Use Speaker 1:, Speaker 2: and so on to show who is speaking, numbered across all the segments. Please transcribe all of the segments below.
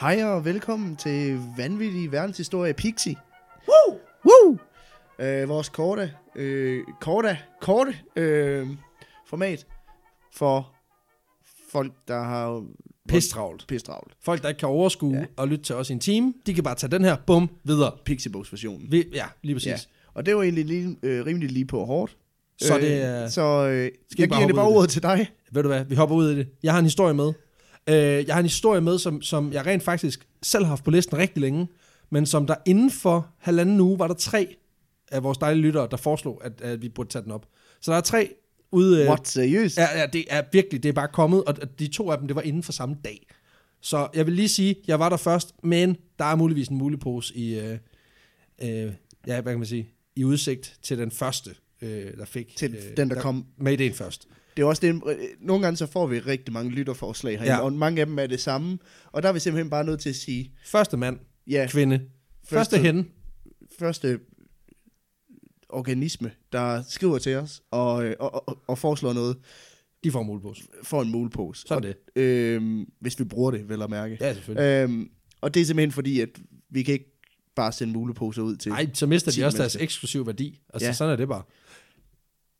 Speaker 1: Hej og velkommen til Vanvittig Verdenshistorie Pixie.
Speaker 2: Woo!
Speaker 1: Woo! Øh, vores korte, øh, korte, korte øh, format for folk, der har
Speaker 2: Pistravlt.
Speaker 1: pistravlt.
Speaker 2: Folk, der ikke kan overskue
Speaker 1: Ja.
Speaker 2: ja. og lytte til os i en time, de kan bare tage den her, bum, videre.
Speaker 1: Pixiebox-versionen.
Speaker 2: Vi, ja, lige
Speaker 1: Ja.
Speaker 2: præcis. Ja.
Speaker 1: Og det var egentlig lige, øh, rimelig lige på hårdt.
Speaker 2: Så det er-
Speaker 1: Øh, så øh, jeg giver
Speaker 2: hoppe
Speaker 1: det bare
Speaker 2: ud i
Speaker 1: ordet til dig.
Speaker 2: Ved du hvad, vi hopper ud i det. Jeg har en historie med. Øh, jeg har en historie med, som, som jeg rent faktisk selv har haft på listen rigtig længe, men som der inden for halvanden uge, var der tre af vores dejlige lyttere, der foreslog, at, at vi burde tage den op. Så der er tre ude... øh,
Speaker 1: What, seriøst?
Speaker 2: Ja, ja, det er virkelig, det er bare kommet, og og de to af dem, det var inden for samme dag. Så jeg vil lige sige, jeg var der først, men der er muligvis en mulig pose i, øh, øh, ja, hvad kan man sige, i udsigt til den første, øh, der fik.
Speaker 1: Til
Speaker 2: øh,
Speaker 1: den, der kom.
Speaker 2: Med ideen først.
Speaker 1: Det er også det, øh, nogle gange så får vi rigtig mange lytterforslag herinde, ja.
Speaker 2: Ja.
Speaker 1: og mange af dem er det samme. Og der er vi simpelthen bare nødt til at sige,
Speaker 2: Første mand,
Speaker 1: ja,
Speaker 2: kvinde, første,
Speaker 1: Første-
Speaker 2: første hende.
Speaker 1: første organisme, der skriver til os og, øh, og, og, og foreslår noget,
Speaker 2: De får en mulepose.
Speaker 1: får en mulepose.
Speaker 2: Sådan det.
Speaker 1: Og, øhm, hvis vi bruger det, vel at mærke.
Speaker 2: Ja, selvfølgelig.
Speaker 1: Ja. Øhm, og det er simpelthen fordi, at vi kan ikke bare sende muleposer ud til.
Speaker 2: Nej, så mister
Speaker 1: ti
Speaker 2: de også deres
Speaker 1: mennesker.
Speaker 2: eksklusive værdi. Altså,
Speaker 1: Ja.
Speaker 2: ja. sådan er det bare.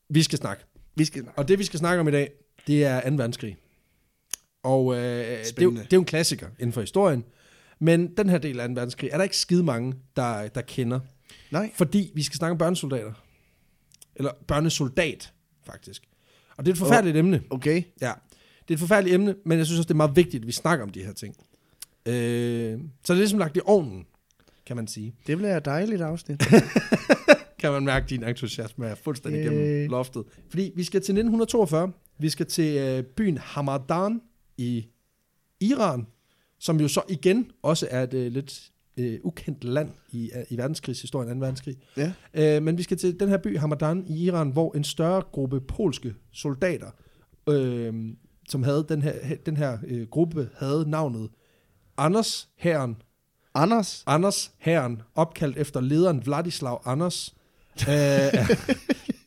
Speaker 2: Vi skal snakke.
Speaker 1: Vi skal...
Speaker 2: Og det, vi skal snakke om i dag, det er 2. verdenskrig. Og øh, det, er jo,
Speaker 1: Spændende.
Speaker 2: det er jo en klassiker inden for historien. Men den her del af 2. verdenskrig er der ikke skide mange, der, der kender.
Speaker 1: Nej.
Speaker 2: Fordi vi skal snakke om børnesoldater. Eller børnesoldat, faktisk. Og det er et forfærdeligt oh. emne.
Speaker 1: Okay.
Speaker 2: Ja, det er et forfærdeligt emne, men jeg synes også, det er meget vigtigt, at vi snakker om de her ting. Øh, så det er ligesom lagt i ovnen, kan man sige.
Speaker 1: Det bliver et dejligt afsnit.
Speaker 2: kan man mærke, at din entusiasme er fuldstændig
Speaker 1: Yay.
Speaker 2: yeah. gennem loftet. Fordi vi skal til 1942. Vi skal til øh, byen Hamadan i Iran, som jo så igen også er et øh, lidt øh, ukendt land i, øh, i verdenskrigshistorien, 2. verdenskrig.
Speaker 1: ja.
Speaker 2: Øh, men vi skal til den her by Hamadan i Iran, hvor en større gruppe polske soldater, øh, som havde den her, den her øh, gruppe, havde navnet Anders Herren
Speaker 1: Anders,
Speaker 2: Anders Herren, opkaldt efter lederen Vladislav Anders. Øh,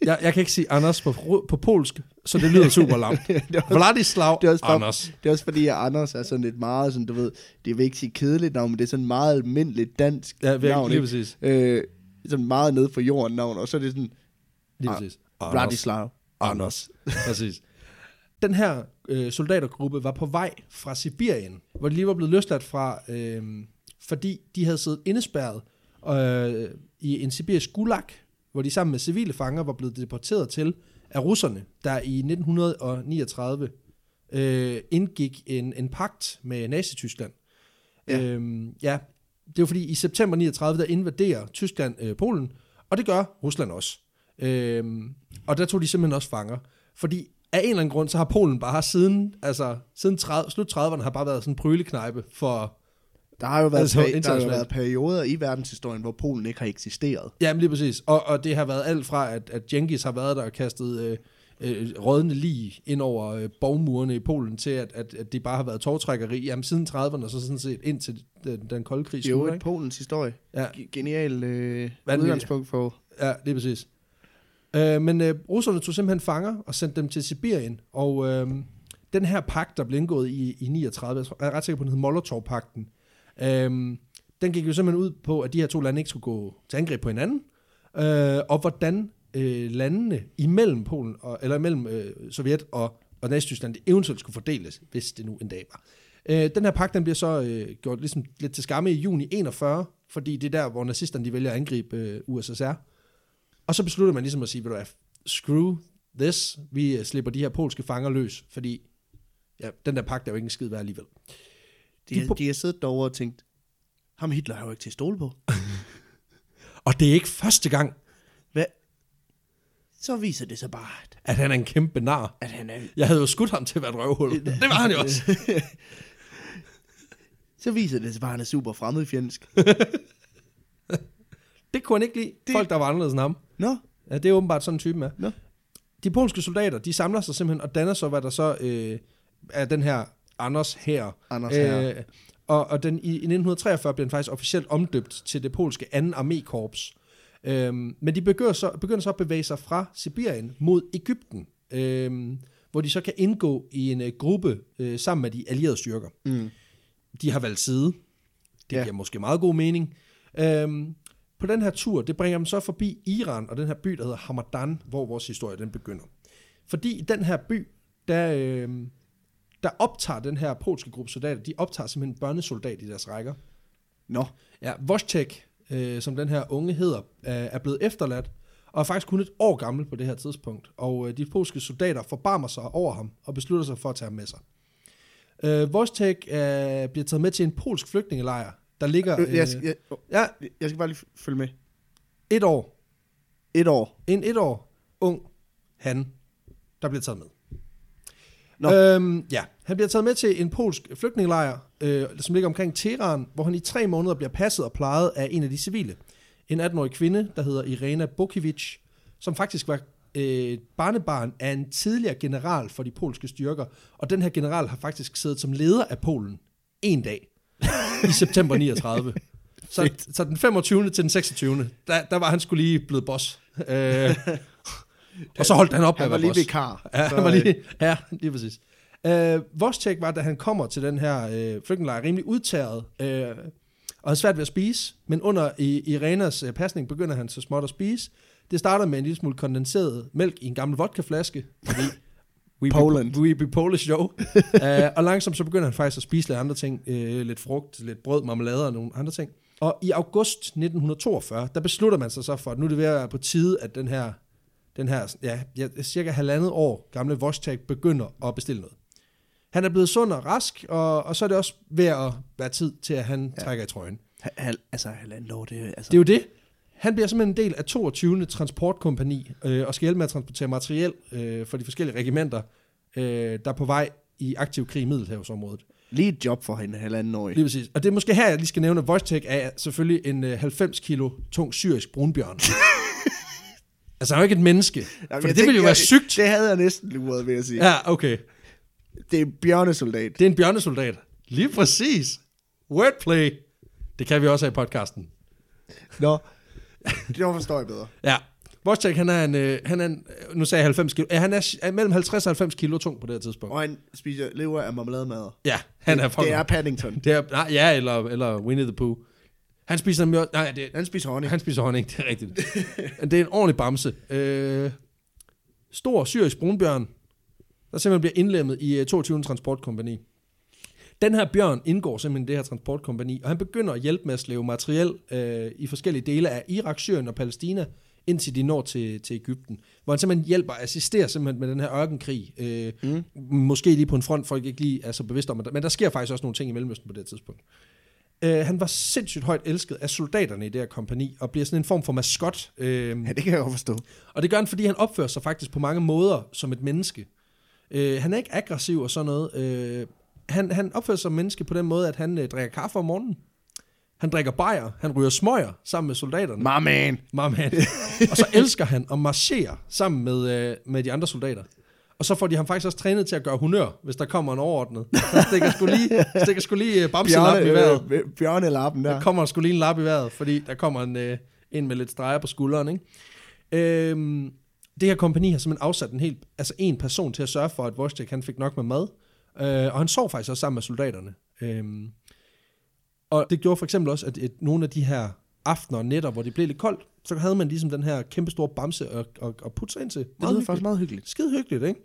Speaker 2: jeg, jeg kan ikke sige Anders på, ru- på polsk, så det lyder super lamt. Vladislav
Speaker 1: det er også bare-
Speaker 2: Anders.
Speaker 1: det er også fordi, at Anders er sådan et meget, sådan, du ved, det vil ikke sige kedeligt navn, men det er sådan meget almindeligt dansk
Speaker 2: Ja, virkelig,
Speaker 1: navn.
Speaker 2: lige
Speaker 1: ikke?
Speaker 2: præcis.
Speaker 1: Øh, sådan meget nede for jorden navn, og så er det sådan,
Speaker 2: Lige
Speaker 1: Ah,
Speaker 2: præcis.
Speaker 1: Vladislav.
Speaker 2: Anders. Præcis. Den her øh, soldatergruppe var på vej fra Sibirien, hvor de lige var blevet løsladt fra, øh, fordi de havde siddet indespærret øh, i en sibirisk gulag, hvor de sammen med civile fanger var blevet deporteret til af russerne, der i 1939 øh, indgik en, en pagt med Nazi-Tyskland.
Speaker 1: Ja.
Speaker 2: Ja. Øhm, ja, det er jo fordi i september 39, der invaderer Tyskland øh, Polen, og det gør Rusland også. Øhm, og der tog de simpelthen også fanger, fordi af en eller anden grund, så har Polen bare siden, altså siden 30, slut 30'erne, har bare været sådan en prøleknejpe for,
Speaker 1: Der har jo været, altså,
Speaker 2: Altså,
Speaker 1: der har jo
Speaker 2: internationalt.
Speaker 1: været perioder i verdenshistorien, hvor Polen ikke har eksisteret.
Speaker 2: jamen lige præcis, og, og det har været alt fra, at, at Genghis har været der og kastet øh, øh, rådende lige ind over øh, borgmurene i Polen, til at, at, at det bare har været togtrækkeri, jamen siden 30'erne, og så sådan set indtil den, den kolde krig
Speaker 1: Det er jo
Speaker 2: slutter,
Speaker 1: et
Speaker 2: ikke?
Speaker 1: Polens historie.
Speaker 2: Ja.
Speaker 1: G- Genial øh,
Speaker 2: Vanvittigt.
Speaker 1: udgangspunkt for...
Speaker 2: Ja, det er præcis. Øh, men øh, russerne tog simpelthen fanger og sendte dem til Sibirien, og øh, den her pagt, der blev indgået i, i 39, jeg tror- jeg er ret sikker på, den hed Molotov-pakten, øh, den gik jo simpelthen ud på, at de her to lande ikke skulle gå til angreb på hinanden, øh, og hvordan øh, landene imellem Polen, og, eller imellem øh, Sovjet og, og Nazi-Tyskland det eventuelt skulle fordeles, hvis det nu en dag var. Øh, den her pagt, den bliver så øh, gjort ligesom lidt til skamme i juni 41, fordi det er der, hvor nazisterne de vælger at angribe øh, USSR. Og så beslutter man ligesom at sige, ved du hvad, screw this, vi øh, slipper de her polske fanger løs, fordi ja, den der pagt er jo ikke en skid værd alligevel.
Speaker 1: De,
Speaker 2: De
Speaker 1: de,
Speaker 2: på-
Speaker 1: de har siddet derovre og tænkt, ham Hitler har jo ikke til at stole på.
Speaker 2: Og det er ikke første gang,
Speaker 1: Hvad? Så viser det sig bare, at,
Speaker 2: at han er en kæmpe nar.
Speaker 1: at han er...
Speaker 2: Jeg havde jo skudt ham til at være et røvhul. Det var han jo også.
Speaker 1: Så viser det sig bare, at han er super fremmedfjendsk.
Speaker 2: Det kunne han ikke lide. Det... Folk, der var anderledes end ham.
Speaker 1: Nå,
Speaker 2: Ja, det er åbenbart sådan en type er.
Speaker 1: Nå.
Speaker 2: De polske soldater, de samler sig simpelthen og danner så, hvad der så øh, er den her Anders her.
Speaker 1: Anders Hær.
Speaker 2: Øh, og, og den, i, i 1943 blev den faktisk officielt omdøbt til det polske 2. armékorps. Øhm, men de begynder så, begynder så at bevæge sig fra Sibirien mod Ægypten, øhm, hvor de så kan indgå i en øh, gruppe øh, sammen med de allierede styrker. Mm. De har valgt side. Det
Speaker 1: Ja.
Speaker 2: giver måske meget god mening. Øhm, på den her tur, det bringer dem så forbi Iran og den her by, der hedder Hamadan, hvor vores historie den begynder. Fordi i den her by, der, øhm, der optager den her polske gruppe soldater, de optager simpelthen en børnesoldat i deres rækker.
Speaker 1: Nå,
Speaker 2: Ja, Voschtek, øh, som den her unge hedder, øh, er blevet efterladt, og er faktisk kun et år gammel på det her tidspunkt. Og øh, de polske soldater forbarmer sig over ham, og beslutter sig for at tage ham med sig. Øh, Voschtek øh, bliver taget med til en polsk flygtningelejr, der ligger...
Speaker 1: øh, jeg, skal- jeg,
Speaker 2: ja,
Speaker 1: jeg skal bare lige følge med.
Speaker 2: et år.
Speaker 1: Et år.
Speaker 2: En et år ung han, der bliver taget med.
Speaker 1: Nå.
Speaker 2: Øhm, ja, han bliver taget med til en polsk flygtningelejr, øh, som ligger omkring Teheran, hvor han i tre måneder bliver passet og plejet af en af de civile. En 18-årig kvinde, der hedder Irena Bukiewicz, som faktisk var øh, barnebarn af en tidligere general for de polske styrker, og den her general har faktisk siddet som leder af Polen en dag i september 39. Så, så den 25. til den 26. Der, der var han skulle lige blevet boss. Øh, og så holdt han op med
Speaker 1: Han
Speaker 2: at
Speaker 1: var
Speaker 2: være
Speaker 1: lige
Speaker 2: boss.
Speaker 1: vikar.
Speaker 2: Ja,
Speaker 1: så,
Speaker 2: han var
Speaker 1: øh,
Speaker 2: lige, ja, lige præcis. Øh, Vostek var, da han kommer til den her øh, flygtningelejr, rimelig udtæret, øh, og havde svært ved at spise, men under i, Irenas øh, pasning begynder han så småt at spise. Det starter med en lille smule kondenseret mælk i en gammel vodkaflaske. Fordi We
Speaker 1: Poland.
Speaker 2: Be, we be Polish, jo. uh, og langsomt så begynder han faktisk at spise lidt andre ting. Uh, lidt frugt, lidt brød, marmelade og nogle andre ting. Og i august 1942, der beslutter man sig så for, at nu er det ved at være på tide, at den her den her ja, ja, cirka halvandet år gamle Vostek begynder at bestille noget. Han er blevet sund og rask, og, og så er det også ved at være tid til, at han ja. trækker i trøjen.
Speaker 1: hal- hal- altså, halvandet år, det er altså...
Speaker 2: Det er jo det. Han bliver simpelthen en del af 22. transportkompani, øh, og skal hjælpe med at transportere materiel øh, for de forskellige regimenter, øh, der er på vej i aktiv krig i Middelhavsområdet.
Speaker 1: Lige et job for en halvanden år.
Speaker 2: Lige præcis. Og det er måske her, jeg lige skal nævne, at Vostek er selvfølgelig en øh, 90 kilo tung syrisk brunbjørn. altså, han er jo ikke et menneske. for det ville jo være sygt.
Speaker 1: Det havde jeg næsten luret, vil jeg sige. Ja.
Speaker 2: Ja, okay.
Speaker 1: Det er en bjørnesoldat.
Speaker 2: Det er en bjørnesoldat. Lige præcis. Wordplay. Det kan vi også have i podcasten.
Speaker 1: Nå, det forstår jeg bedre.
Speaker 2: Ja. Vostek, han er en, øh, han er en, øh, nu sagde jeg 90 kilo, Ja, han er s- er mellem 50 og 90 kilo tung på det her tidspunkt.
Speaker 1: Og han spiser lever af marmelademader.
Speaker 2: Ja, han er
Speaker 1: Det
Speaker 2: fucking...
Speaker 1: er Paddington.
Speaker 2: det er, nej, ja, eller, eller Winnie the Pooh. Han spiser nemlig også, nej, det,
Speaker 1: Han spiser honning.
Speaker 2: han spiser honning, det er rigtigt. Men det er en ordentlig bamse. Øh, stor syrisk brunbjørn, der simpelthen bliver indlemmet i øh, 22. transportkompani. Den her bjørn indgår simpelthen i det her transportkompani, og han begynder at hjælpe med at slæve materiel øh, i forskellige dele af Irak, Syrien og Palæstina, indtil de når til, til Ægypten, hvor han simpelthen hjælper og assisterer simpelthen med den her ørkenkrig. Øh, mm. Måske lige på en front, folk ikke lige er så bevidste om, at der- men der sker faktisk også nogle ting i Mellemøsten på det her tidspunkt. Øh, han var sindssygt højt elsket af soldaterne i det her kompani, og bliver sådan en form for maskot. Øh,
Speaker 1: Ja, det kan jeg godt forstå.
Speaker 2: og det gør han, fordi han opfører sig faktisk på mange måder som et menneske. Øh, han er ikke aggressiv og sådan noget. Øh, han, han opfører sig som menneske på den måde, at han øh, drikker kaffe om morgenen. Han drikker bajer, han ryger smøger sammen med soldaterne.
Speaker 1: My man.
Speaker 2: My man. og så elsker han at marchere sammen med, øh, med de andre soldater. Og så får de ham faktisk også trænet til at gøre honør, hvis der kommer en overordnet. Han stikker sgu lige, stikker sgu lige øh, bamsen op i vejret.
Speaker 1: Bjørne, øh, bjørnelappen der.
Speaker 2: Der kommer sgu lige en lap i vejret, fordi der kommer en, øh, en med lidt streger på skulderen, ikke? Øhm, det her kompani har simpelthen afsat en helt, altså en person til at sørge for, at Vostek han fik nok med mad, øh, og han sov faktisk også sammen med soldaterne. Øhm, og det gjorde for eksempel også, at et, nogle af de her aftener og nætter, hvor det blev lidt koldt, så havde man ligesom den her kæmpe store bamse at, at, at putte sig ind til.
Speaker 1: Det lyder faktisk meget hyggeligt.
Speaker 2: Skide hyggeligt, ikke?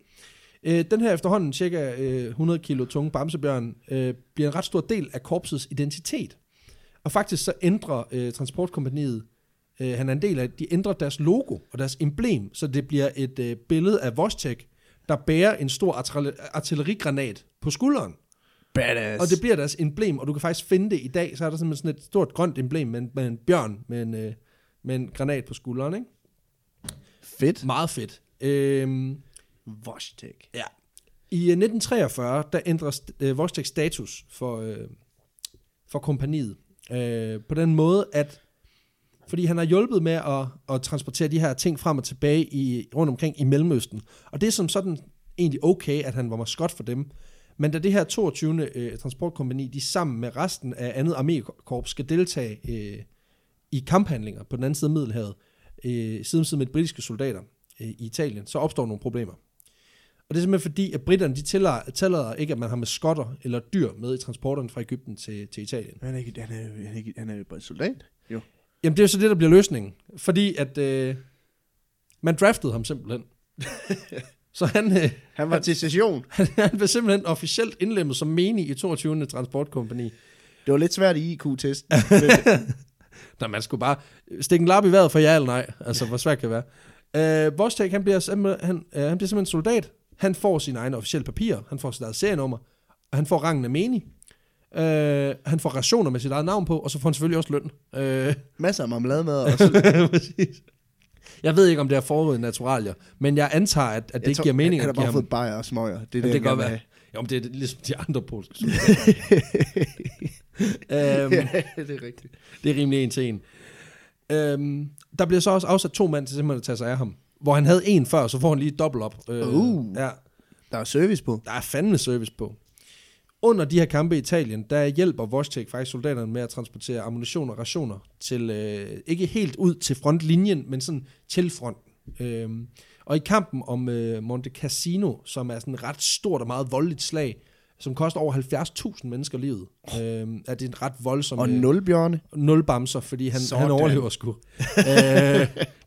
Speaker 2: Øh, den her efterhånden cirka øh, 100 kilo tunge bamsebjørn øh, bliver en ret stor del af korpsets identitet. Og faktisk så ændrer øh, transportkompaniet, øh, han er en del af, de ændrer deres logo og deres emblem, så det bliver et øh, billede af Vostek, der bærer en stor artille- artillerigranat på skulderen.
Speaker 1: Badass.
Speaker 2: Og det bliver deres emblem, og du kan faktisk finde det i dag, så er der simpelthen sådan et stort grønt emblem med en, med en bjørn med en, øh, med en granat på skulderen, ikke?
Speaker 1: fedt.
Speaker 2: Meget fedt. Øhm,
Speaker 1: Vostek.
Speaker 2: Ja. I øh, 1943, der ændres øh, Vosteks status for, øh, for kompaniet. Øh, på den måde, at fordi han har hjulpet med at, at transportere de her ting frem og tilbage i, rundt omkring i Mellemøsten. Og det er som sådan egentlig okay, at han var maskot for dem. Men da det her 22. Øh, transportkompani, de sammen med resten af andet armékorps, skal deltage øh, i kamphandlinger på den anden side af Middelhavet, øh, side om side med de britiske soldater øh, i Italien, så opstår nogle problemer. Og det er simpelthen fordi, at britterne de tillader, tillader ikke, at man har med skotter eller dyr med i transporterne fra Ægypten til, til Italien.
Speaker 1: Han er, ikke, han, er, jo- han, er ikke, han er jo bare soldat. Jo.
Speaker 2: Jamen det er jo så det, der bliver løsningen. Fordi at øh, man draftede ham simpelthen. så han, øh,
Speaker 1: Han var til session.
Speaker 2: han, han blev simpelthen officielt indlemmet som menig i 22. transportkompagni.
Speaker 1: Det var lidt svært i IQ-testen.
Speaker 2: Nå, man skulle bare stikke en lap i vejret for ja eller nej. Altså, hvor svært kan det være. Øh, Vostek, han bliver, simpel- han, øh, han bliver simpelthen soldat. Han får sine egne officielle papirer. Han får sit eget serienummer. Og han får rangen af menig. Øh, han får rationer med sit eget navn på, og så får han selvfølgelig også løn. Øh,
Speaker 1: Masser af marmelade med, og så,
Speaker 2: præcis. Jeg ved ikke, om det er forud naturalier, men jeg antager, at, at det ikke giver mening
Speaker 1: Han har
Speaker 2: at give
Speaker 1: bare
Speaker 2: ham.
Speaker 1: fået bajer og smøger. Det er det,
Speaker 2: Det, det
Speaker 1: han
Speaker 2: kan godt
Speaker 1: gerne
Speaker 2: være.
Speaker 1: vil
Speaker 2: Jo, men det er ligesom de andre polske soldater. øhm,
Speaker 1: have. Ja, det er rigtigt.
Speaker 2: Det er rimelig en til en. Øhm, der bliver så også afsat to mænd til simpelthen at tage sig af ham. Hvor han havde en før, så får han lige et dobbelt op. Øh,
Speaker 1: Uh.
Speaker 2: Ja,
Speaker 1: Der er service på.
Speaker 2: der er fandme service på. Under de her kampe i Italien, der hjælper Vostek faktisk soldaterne med at transportere ammunition og rationer til, øh, ikke helt ud til frontlinjen, men sådan til fronten. Øhm, og i kampen om øh, Monte Cassino, som er sådan et ret stort og meget voldeligt slag, som koster over 70.000 mennesker livet, øhm, er det en ret voldsom...
Speaker 1: Og
Speaker 2: øh,
Speaker 1: nul bjørne.
Speaker 2: nul bamser, fordi han,
Speaker 1: Sådan.
Speaker 2: han overlever sgu. øh,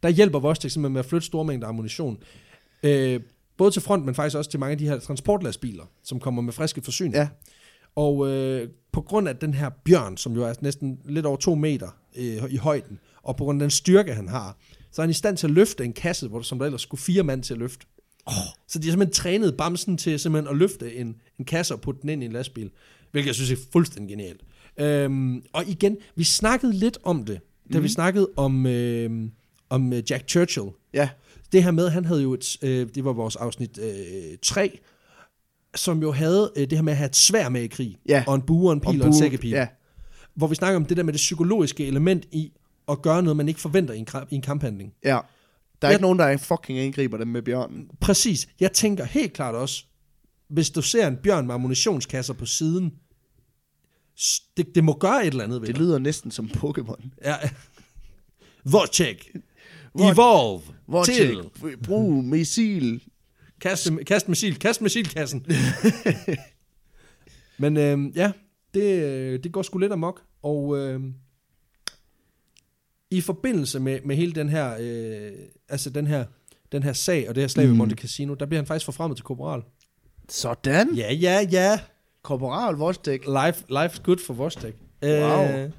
Speaker 2: der hjælper Vostek simpelthen med at flytte store mængder ammunition. Øh, både til front, men faktisk også til mange af de her transportlastbiler, som kommer med friske forsyninger.
Speaker 1: Ja.
Speaker 2: Og øh, på grund af den her bjørn, som jo er næsten lidt over to meter øh, i højden, og på grund af den styrke, han har, så er han i stand til at løfte en kasse, hvor der, som der ellers skulle fire mand til at løfte. Oh. Så de har simpelthen trænet bamsen til simpelthen at løfte en, en kasse og putte den ind i en lastbil, hvilket jeg synes er fuldstændig genialt. Øhm, og igen, vi snakkede lidt om det, da mm.
Speaker 1: Mhm.
Speaker 2: vi snakkede om, øh, om øh, Jack Churchill.
Speaker 1: Ja.
Speaker 2: Det her med, han havde jo et, øh, det var vores afsnit øh, 3, som jo havde øh, det her med at have et svær med i krig,
Speaker 1: Ja.
Speaker 2: og en bue og en pil og, og en
Speaker 1: bue-
Speaker 2: sækkepil
Speaker 1: Ja.
Speaker 2: hvor vi snakker om det der med det psykologiske element i at gøre noget, man ikke forventer i en, kra- i en kamphandling.
Speaker 1: ja. Der er
Speaker 2: Ja.
Speaker 1: ikke nogen, der fucking angriber dem med bjørnen.
Speaker 2: Præcis. Jeg tænker helt klart også, hvis du ser en bjørn med ammunitionskasser på siden, s- det, det må gøre et eller andet ved
Speaker 1: Det
Speaker 2: dig.
Speaker 1: lyder næsten som Pokémon.
Speaker 2: Ja. Vortjek.
Speaker 1: Vor-
Speaker 2: Evolve.
Speaker 1: Hvor
Speaker 2: Til.
Speaker 1: til brug missil.
Speaker 2: Kast, kast missil. Kast missilkassen. Men øhm, ja, det, øh, det går sgu lidt amok. Og øhm, i forbindelse med, med hele den her, øh, altså den her, den her sag og det her slag mm. ved
Speaker 1: Mm.
Speaker 2: Monte Casino, der bliver han faktisk forfremmet til korporal.
Speaker 1: Sådan.
Speaker 2: Ja, ja, ja.
Speaker 1: Korporal Vostek.
Speaker 2: Life, life's good for Vostek.
Speaker 1: Wow.
Speaker 2: Øh,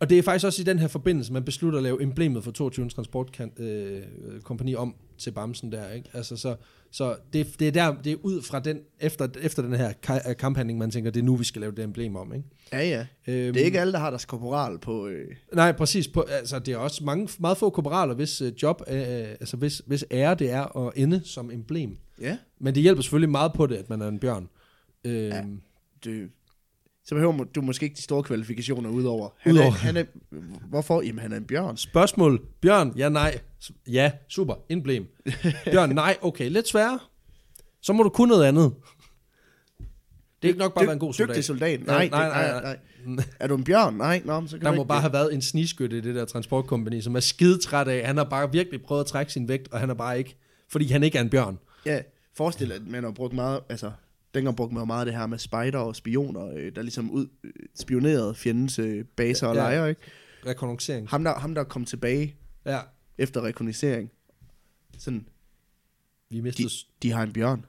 Speaker 2: og det er faktisk også i den her forbindelse, man beslutter at lave emblemet for 22. Transportkompagni øh, kompagni om til Bamsen der, ikke? Altså, så, så det, det, er der, det er ud fra den, efter, efter den her ka- øh, kamphandling, man tænker, det er nu, vi skal lave det emblem om, ikke?
Speaker 1: Ja, ja.
Speaker 2: Øhm,
Speaker 1: Det er ikke alle, der har deres korporal på... Øh.
Speaker 2: Nej, præcis. På, altså, det er også mange, meget få korporaler, hvis øh, job, øh, altså hvis, hvis ære det er at ende som emblem.
Speaker 1: Ja.
Speaker 2: Men det hjælper selvfølgelig meget på det, at man er en bjørn. Øh, ja.
Speaker 1: Det, så behøver må- du måske ikke de store kvalifikationer udover. Han
Speaker 2: Udover.
Speaker 1: Er, han er, hvorfor? Jamen, han er en bjørn.
Speaker 2: Spørgsmål. Bjørn, ja, nej. S- Ja, super. Indblem. Bjørn, nej. Okay, lidt sværere. Så må du kunne noget andet. Det er ikke nok bare at være en god soldat.
Speaker 1: Dygtig soldat.
Speaker 2: Ja,
Speaker 1: Nej, nej, nej, nej, nej. Er du en bjørn? Nej, nå, men så kan
Speaker 2: Der
Speaker 1: du
Speaker 2: må
Speaker 1: ikke-
Speaker 2: bare have været en snigskytte i det der transportkompagni, som er skidetræt af. Han har bare virkelig prøvet at trække sin vægt, og han er bare ikke, fordi han ikke er en bjørn.
Speaker 1: Ja, forestil dig, at man har brugt meget, altså, dengang brugte man jo meget det her med spejder og spioner, øh, der ligesom ud, øh, spionerede fjendens øh, baser og
Speaker 2: Ja.
Speaker 1: lejre, ikke?
Speaker 2: Rekognoscering.
Speaker 1: Ham der, ham der kom tilbage
Speaker 2: Ja,
Speaker 1: efter rekognisering, sådan,
Speaker 2: vi
Speaker 1: de,
Speaker 2: mistede...
Speaker 1: de har en bjørn.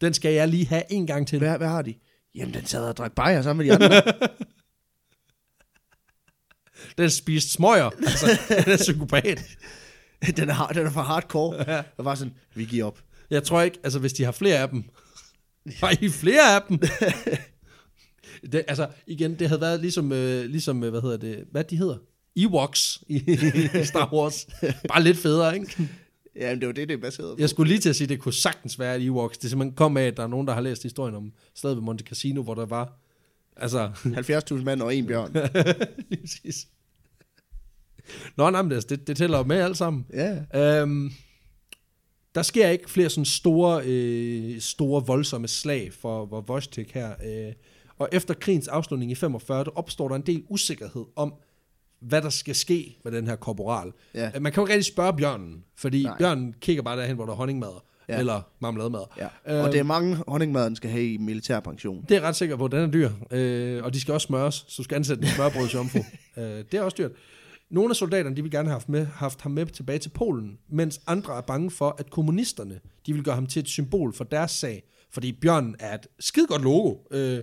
Speaker 2: Den skal jeg lige have en gang til.
Speaker 1: Hvad, hvad har de? Jamen, den sad og drak bajer sammen med de andre.
Speaker 2: Den spiste smøger. Altså, den er psykopat.
Speaker 1: den, er, hard- den er for hardcore. Ja. Og var sådan, vi giver op.
Speaker 2: Jeg tror ikke, altså hvis de har flere af dem. Har I flere af dem? det, altså igen, det havde været ligesom, øh, ligesom øh, hvad hedder det, hvad de hedder? Ewoks i, i Star Wars. Bare lidt federe, ikke?
Speaker 1: Jamen, det var det, det er baseret på.
Speaker 2: Jeg skulle lige til at sige, det kunne sagtens være, at Ewoks, det simpelthen kom af, at der er nogen, der har læst historien om stedet ved Monte Casino, hvor der var, altså,
Speaker 1: 70.000 mand og en bjørn.
Speaker 2: lige præcis. Nå, nej, men altså, det, det, det tæller jo med alt sammen.
Speaker 1: ja.
Speaker 2: Øhm, der sker ikke flere sådan store, øh, store voldsomme slag for, for Vostek her. Øh. Og efter krigens afslutning i 45, der opstår der en del usikkerhed om, hvad der skal ske med den her korporal.
Speaker 1: Ja.
Speaker 2: Øh, Man kan jo ikke rigtig spørge bjørnen, fordi
Speaker 1: Nej.
Speaker 2: Nej. bjørnen kigger bare derhen, hvor der er honningmadder. ja.
Speaker 1: Ja.
Speaker 2: eller marmelademad.
Speaker 1: Ja.
Speaker 2: Øhm.
Speaker 1: Og det er mange honningmad, den skal have i militærpension.
Speaker 2: Det er jeg ret sikker på, den er dyr. Øh, og de skal også smøres, så du skal ansætte en smørbrødsjomfru. øh, det er også dyrt. Nogle af soldaterne, de vil gerne have haft, med, haft ham med tilbage til Polen, mens andre er bange for, at kommunisterne, de vil gøre ham til et symbol for deres sag. Fordi bjørnen er et skidegodt logo. Øh,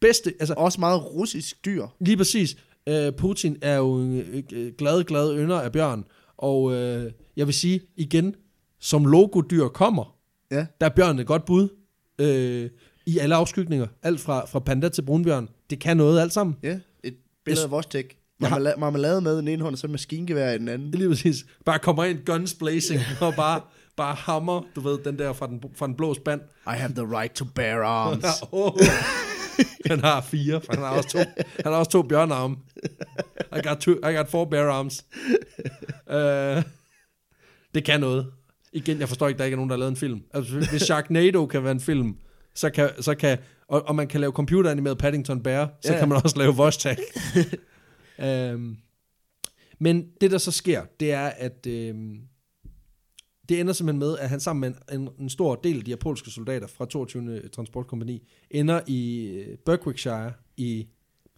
Speaker 2: bedste, altså
Speaker 1: Også meget russisk dyr.
Speaker 2: Lige præcis. Øh, Putin er jo en øh, øh, glad, glad ynder af bjørn. Og øh, jeg vil sige igen, som logodyr kommer,
Speaker 1: Ja.
Speaker 2: der er bjørn et godt bud. Øh, I alle afskygninger. Alt fra, fra panda til brunbjørn. Det kan noget alt sammen.
Speaker 1: Ja, et billede
Speaker 2: Jeg-
Speaker 1: af Vostek.
Speaker 2: Jeg har-
Speaker 1: Marmelade, marmelade med i den ene hånd, og så maskingevær i den anden.
Speaker 2: Lige præcis. Bare kommer ind, guns blazing, og bare, bare hammer, du ved, den der fra den, fra den blå spand.
Speaker 1: I have the right to bear arms.
Speaker 2: Ja, oh. Han har fire, for han har også to, han har også to bjørnearme. I got, two, I got four bear arms. Uh, det kan noget. Igen, jeg forstår ikke, der ikke er nogen, der har lavet en film. Altså, hvis Sharknado kan være en film, så kan, så kan og, og man kan lave computeranimeret Paddington Bear, så
Speaker 1: Ja.
Speaker 2: kan man også lave Vostok. øhm, men det, der så sker, det er, at øhm, det ender simpelthen med, at han sammen med en, en, en stor del af de her polske soldater fra 22. transportkompani, ender i øh, Berwickshire, i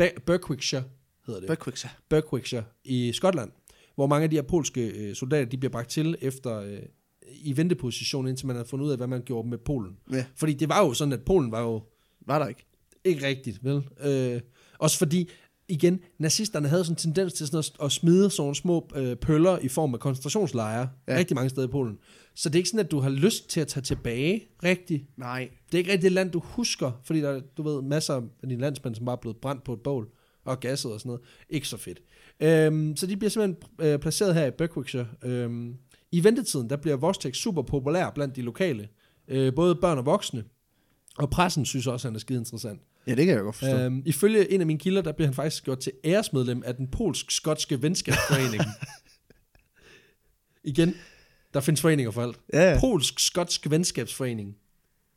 Speaker 2: Ba- Berwickshire hedder det,
Speaker 1: Berkviksa.
Speaker 2: Berwickshire i Skotland, hvor mange af de her polske øh, soldater, de bliver bragt til efter øh, i venteposition, indtil man havde fundet ud af, hvad man gjorde med Polen.
Speaker 1: Ja,
Speaker 2: Fordi det var jo sådan, at Polen var jo
Speaker 1: var der ikke?
Speaker 2: ikke rigtigt, vel? Øh, også fordi, igen, nazisterne havde sådan en tendens til sådan at, at smide sådan nogle små øh, pøller i form af koncentrationslejre, ja.
Speaker 1: Ja.
Speaker 2: rigtig mange steder i Polen. Så det er ikke sådan, at du har lyst til at tage tilbage, rigtigt.
Speaker 1: Nej.
Speaker 2: Det er ikke rigtig det land, du husker, fordi der er, du ved, masser af dine landsmænd, som bare er blevet brændt på et bål og gasset og sådan noget. Ikke så fedt. Øhm, så de bliver simpelthen øh, placeret her i Berwickshire. Øhm, I ventetiden, der bliver Vostek super populær blandt de lokale. Øh, både børn og voksne. Og pressen synes også, han er skide interessant.
Speaker 1: Ja, det kan jeg godt forstå. Øh.
Speaker 2: Øhm, ifølge en af mine kilder, der bliver han faktisk gjort til æresmedlem af den polsk-skotske venskabsforening. Igen, der findes foreninger for alt.
Speaker 1: Ja, ja.
Speaker 2: Polsk-skotsk venskabsforening.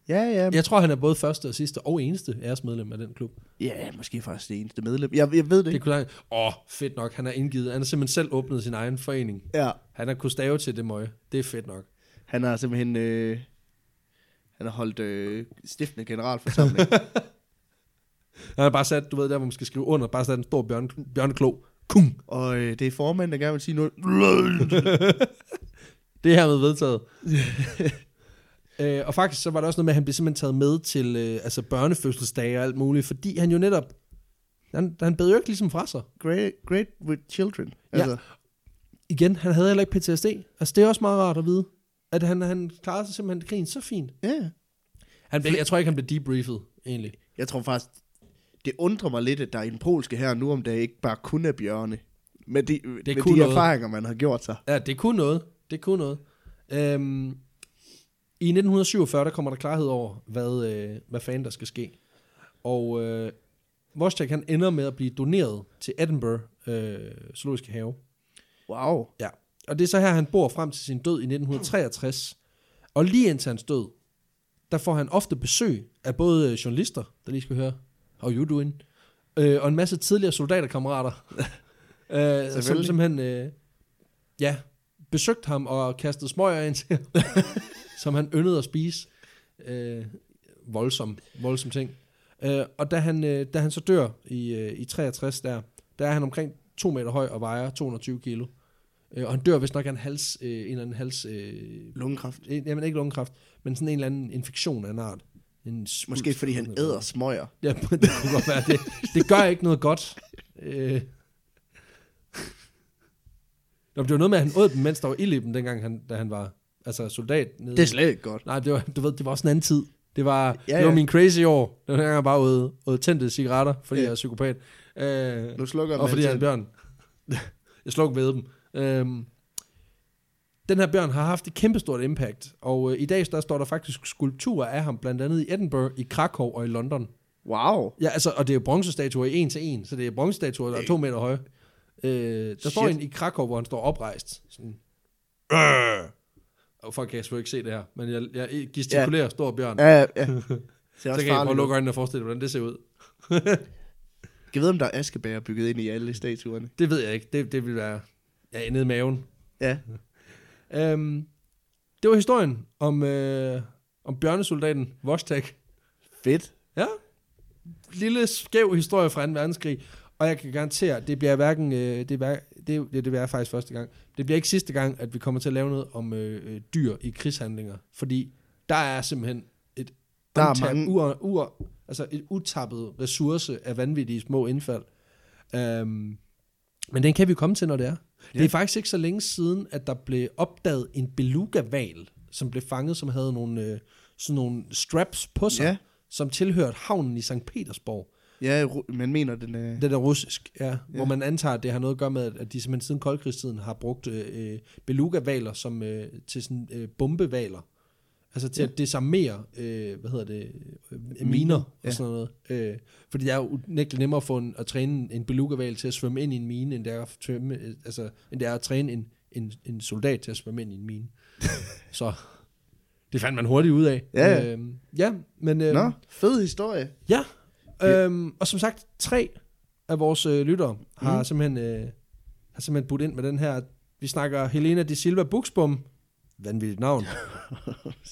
Speaker 1: ja, ja.
Speaker 2: Jeg tror, han er både første og sidste og eneste æresmedlem af den klub.
Speaker 1: Ja, måske faktisk det eneste medlem. Jeg, jeg ved det
Speaker 2: Det
Speaker 1: ikke.
Speaker 2: kunne han... Åh, oh, fedt nok. Han er indgivet. Han har simpelthen selv åbnet sin egen forening.
Speaker 1: Ja,
Speaker 2: Han har kunnet stave til det møje. Det er fedt nok.
Speaker 1: han har simpelthen... Øh, han har holdt øh, stiftende generalforsamling.
Speaker 2: Han har bare sat, du ved, der hvor man skal skrive under, bare sat en stor bjørn, bjørneklo. Kum.
Speaker 1: og øh, det er formanden, der gerne vil sige noget.
Speaker 2: Det er hermed vedtaget. øh, og faktisk så var der også noget med, at han blev simpelthen taget med til øh, altså børnefødselsdage og alt muligt, fordi han jo netop, han, han bed jo ikke ligesom fra sig.
Speaker 1: Great, great with children.
Speaker 2: Ja.
Speaker 1: Altså,
Speaker 2: Igen, han havde heller ikke PTSD. Altså det er også meget rart at vide, at han, han klarede sig simpelthen krigen så fint.
Speaker 1: ja. Yeah.
Speaker 2: Han blev, jeg tror ikke, han blev debriefet, egentlig.
Speaker 1: Jeg tror faktisk, det undrer mig lidt, at der i den polske her nu om dagen ikke bare kun er bjørne. Men de, det med
Speaker 2: kunne
Speaker 1: de
Speaker 2: noget.
Speaker 1: erfaringer, man har gjort sig.
Speaker 2: Ja, det kunne noget. Det kunne noget. Øhm, I 1947, der kommer der klarhed over, hvad, øh, hvad fanden der skal ske. Og øh, Vostok, han ender med at blive doneret til Edinburgh øh, Zoologiske Have.
Speaker 1: Wow.
Speaker 2: Ja. Og det er så her, han bor frem til sin død i 1963. Og lige indtil hans død, der får han ofte besøg af både øh, journalister, der lige skal høre, how you doing, øh, og en masse tidligere soldaterkammerater, øh, som
Speaker 1: Selvfølgelig.
Speaker 2: simpelthen, øh, ja, besøgte ham og kastede smøger ind til ham, som han yndede at spise. Øh, voldsom, voldsom ting. Øh, og da han, øh, da han så dør i, øh, i 63 der, der er han omkring 2 meter høj og vejer 220 kilo. Øh, og han dør hvis nok af en hals, øh, en eller anden hals, øh,
Speaker 1: Lungekræft.
Speaker 2: en- jamen ikke lungekræft, men sådan en eller anden infektion af en art. En svulst.
Speaker 1: Måske fordi han æder smøger.
Speaker 2: Ja, det kunne godt være det. Det gør ikke noget godt. Øh. Nå, men det var noget med, at han åd dem, mens der var ild i dem, dengang han, da han var altså soldat. Nede.
Speaker 1: Det er slet ikke godt.
Speaker 2: Nej, det var, du ved, det var også en anden tid. Det var, ja,
Speaker 1: Ja,
Speaker 2: det var
Speaker 1: ja.
Speaker 2: min crazy år. Den gang jeg bare åd, åd tændte cigaretter,
Speaker 1: Ja.
Speaker 2: fordi ja. jeg er psykopat. Øh,
Speaker 1: Nu slukker
Speaker 2: og
Speaker 1: man
Speaker 2: fordi jeg er en
Speaker 1: altid.
Speaker 2: bjørn. jeg slog ved dem. Øhm, den her bjørn har haft et kæmpestort impact, og øh, i dag der står der faktisk skulpturer af ham, blandt andet i Edinburgh, i Krakow og i London.
Speaker 1: Wow.
Speaker 2: Ja, altså, og det er jo bronzestatuer i en til en, så det er bronzestatuer, der er to meter høje. Øh, der står
Speaker 1: Shit.
Speaker 2: en i Krakow, hvor han står oprejst. Sådan. Øh. Og folk kan jeg selvfølgelig ikke se det her, men jeg, jeg gestikulerer ja. stor bjørn. Ja,
Speaker 1: Ja, ja, ja. Det er
Speaker 2: så
Speaker 1: også
Speaker 2: kan jeg prøve at
Speaker 1: farligt.
Speaker 2: lukke øjnene og forestille mig, hvordan det ser ud.
Speaker 1: Jeg ved, om der er askebær bygget ind i alle statuerne.
Speaker 2: Det ved jeg ikke. Det, det vil være ja, nede i maven.
Speaker 1: Ja.
Speaker 2: Øhm, Det var historien om, øh, om bjørnesoldaten Vostak.
Speaker 1: Fedt.
Speaker 2: Ja. Lille skæv historie fra 2. verdenskrig. Og jeg kan garantere, at det bliver hverken... Øh, det, er, hver- det, er- det, det bliver faktisk første gang. Det bliver ikke sidste gang, at vi kommer til at lave noget om øh, øh, dyr i krigshandlinger. Fordi der er simpelthen et,
Speaker 1: Der er
Speaker 2: untappet-
Speaker 1: mange-
Speaker 2: ur, ur, altså et utappet ressource af vanvittige små indfald. Um, men den kan vi komme til, når det er. Ja. Det
Speaker 1: Ja.
Speaker 2: er faktisk ikke så længe siden, at der blev opdaget en beluga-val, som blev fanget, som havde nogle, øh, sådan nogle straps på sig
Speaker 1: Ja.
Speaker 2: som tilhørte havnen i St. Petersborg.
Speaker 1: Ja, ru- man mener, den øh, er...
Speaker 2: Det der russisk, ja, ja. hvor man antager, at det har noget at gøre med, at de simpelthen siden koldkrigstiden har brugt øh, øh, beluga-valer som, øh, til sådan øh, bombevaler. Altså til ja. at desarmere, øh, hvad hedder det, øh, miner og
Speaker 1: ja.
Speaker 2: sådan noget. Øh, fordi det er jo unægteligt nemmere at, få en, at træne en beluga-val til at svømme ind i en mine, end det er at, tømme, øh, altså, end det er at træne en, en, en soldat til at svømme ind i en mine. Så det fandt man hurtigt ud af.
Speaker 1: Ja, ja.
Speaker 2: øh, ja men... Øh,
Speaker 1: Nå, fed historie.
Speaker 2: Ja,
Speaker 1: Ja.
Speaker 2: øhm, og som sagt, tre af vores øh, lyttere har, mm. simpelthen, øh, har simpelthen budt ind med den her. Vi snakker Helena de Silva Buxbom, vanvittigt navn,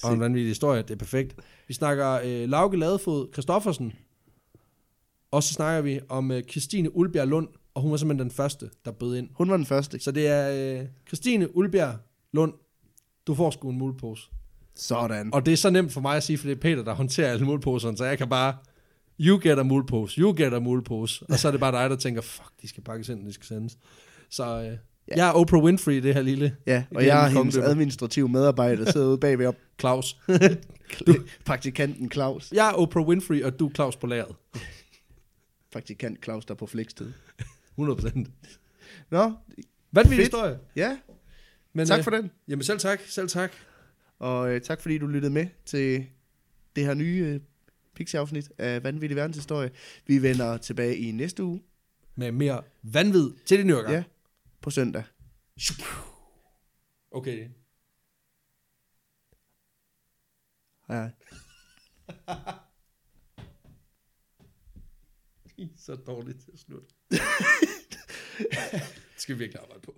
Speaker 2: og en vanvittig historie, det er perfekt. Vi snakker øh, Lauke Ladefod Christoffersen, og så snakker vi om øh, Christine Ulbjerg Lund, og hun var simpelthen den første, der bød ind.
Speaker 1: Hun var den første.
Speaker 2: Så det er øh, Christine Ulbjerg Lund, du får sgu en mulepose.
Speaker 1: Sådan.
Speaker 2: Og det er så nemt for mig at sige, for det er Peter, der håndterer alle muleposerne, så jeg kan bare, you get a mulepose, you get a mulepose. Og så er det bare dig, der tænker, fuck, de skal pakkes ind, de skal sendes. Så øh, yeah. jeg er Oprah Winfrey i det her lille
Speaker 1: Ja, og
Speaker 2: Det er
Speaker 1: jeg er
Speaker 2: en
Speaker 1: hendes
Speaker 2: kongedømme.
Speaker 1: administrative medarbejder, sidder ude bagved op.
Speaker 2: Claus.
Speaker 1: Praktikanten Claus.
Speaker 2: Jeg er Oprah Winfrey, og du er Claus på lageret.
Speaker 1: Praktikant Claus, der er på flekstid.
Speaker 2: 100%.
Speaker 1: Nå,
Speaker 2: Hvad er min
Speaker 1: Fedt.
Speaker 2: historie?
Speaker 1: ja,
Speaker 2: Men,
Speaker 1: tak for den.
Speaker 2: Øh, jamen selv tak, selv tak.
Speaker 1: Og øh, tak fordi du lyttede med til det her nye øh, Pixie-afsnit af Vanvittig Verdenshistorie. Vi vender tilbage i næste uge,
Speaker 2: Med mere vanvid til din ørgang.
Speaker 1: ja, på søndag.
Speaker 2: Okay.
Speaker 1: Ja.
Speaker 2: I er så dårligt til at slutte. det skal vi virkelig arbejde på.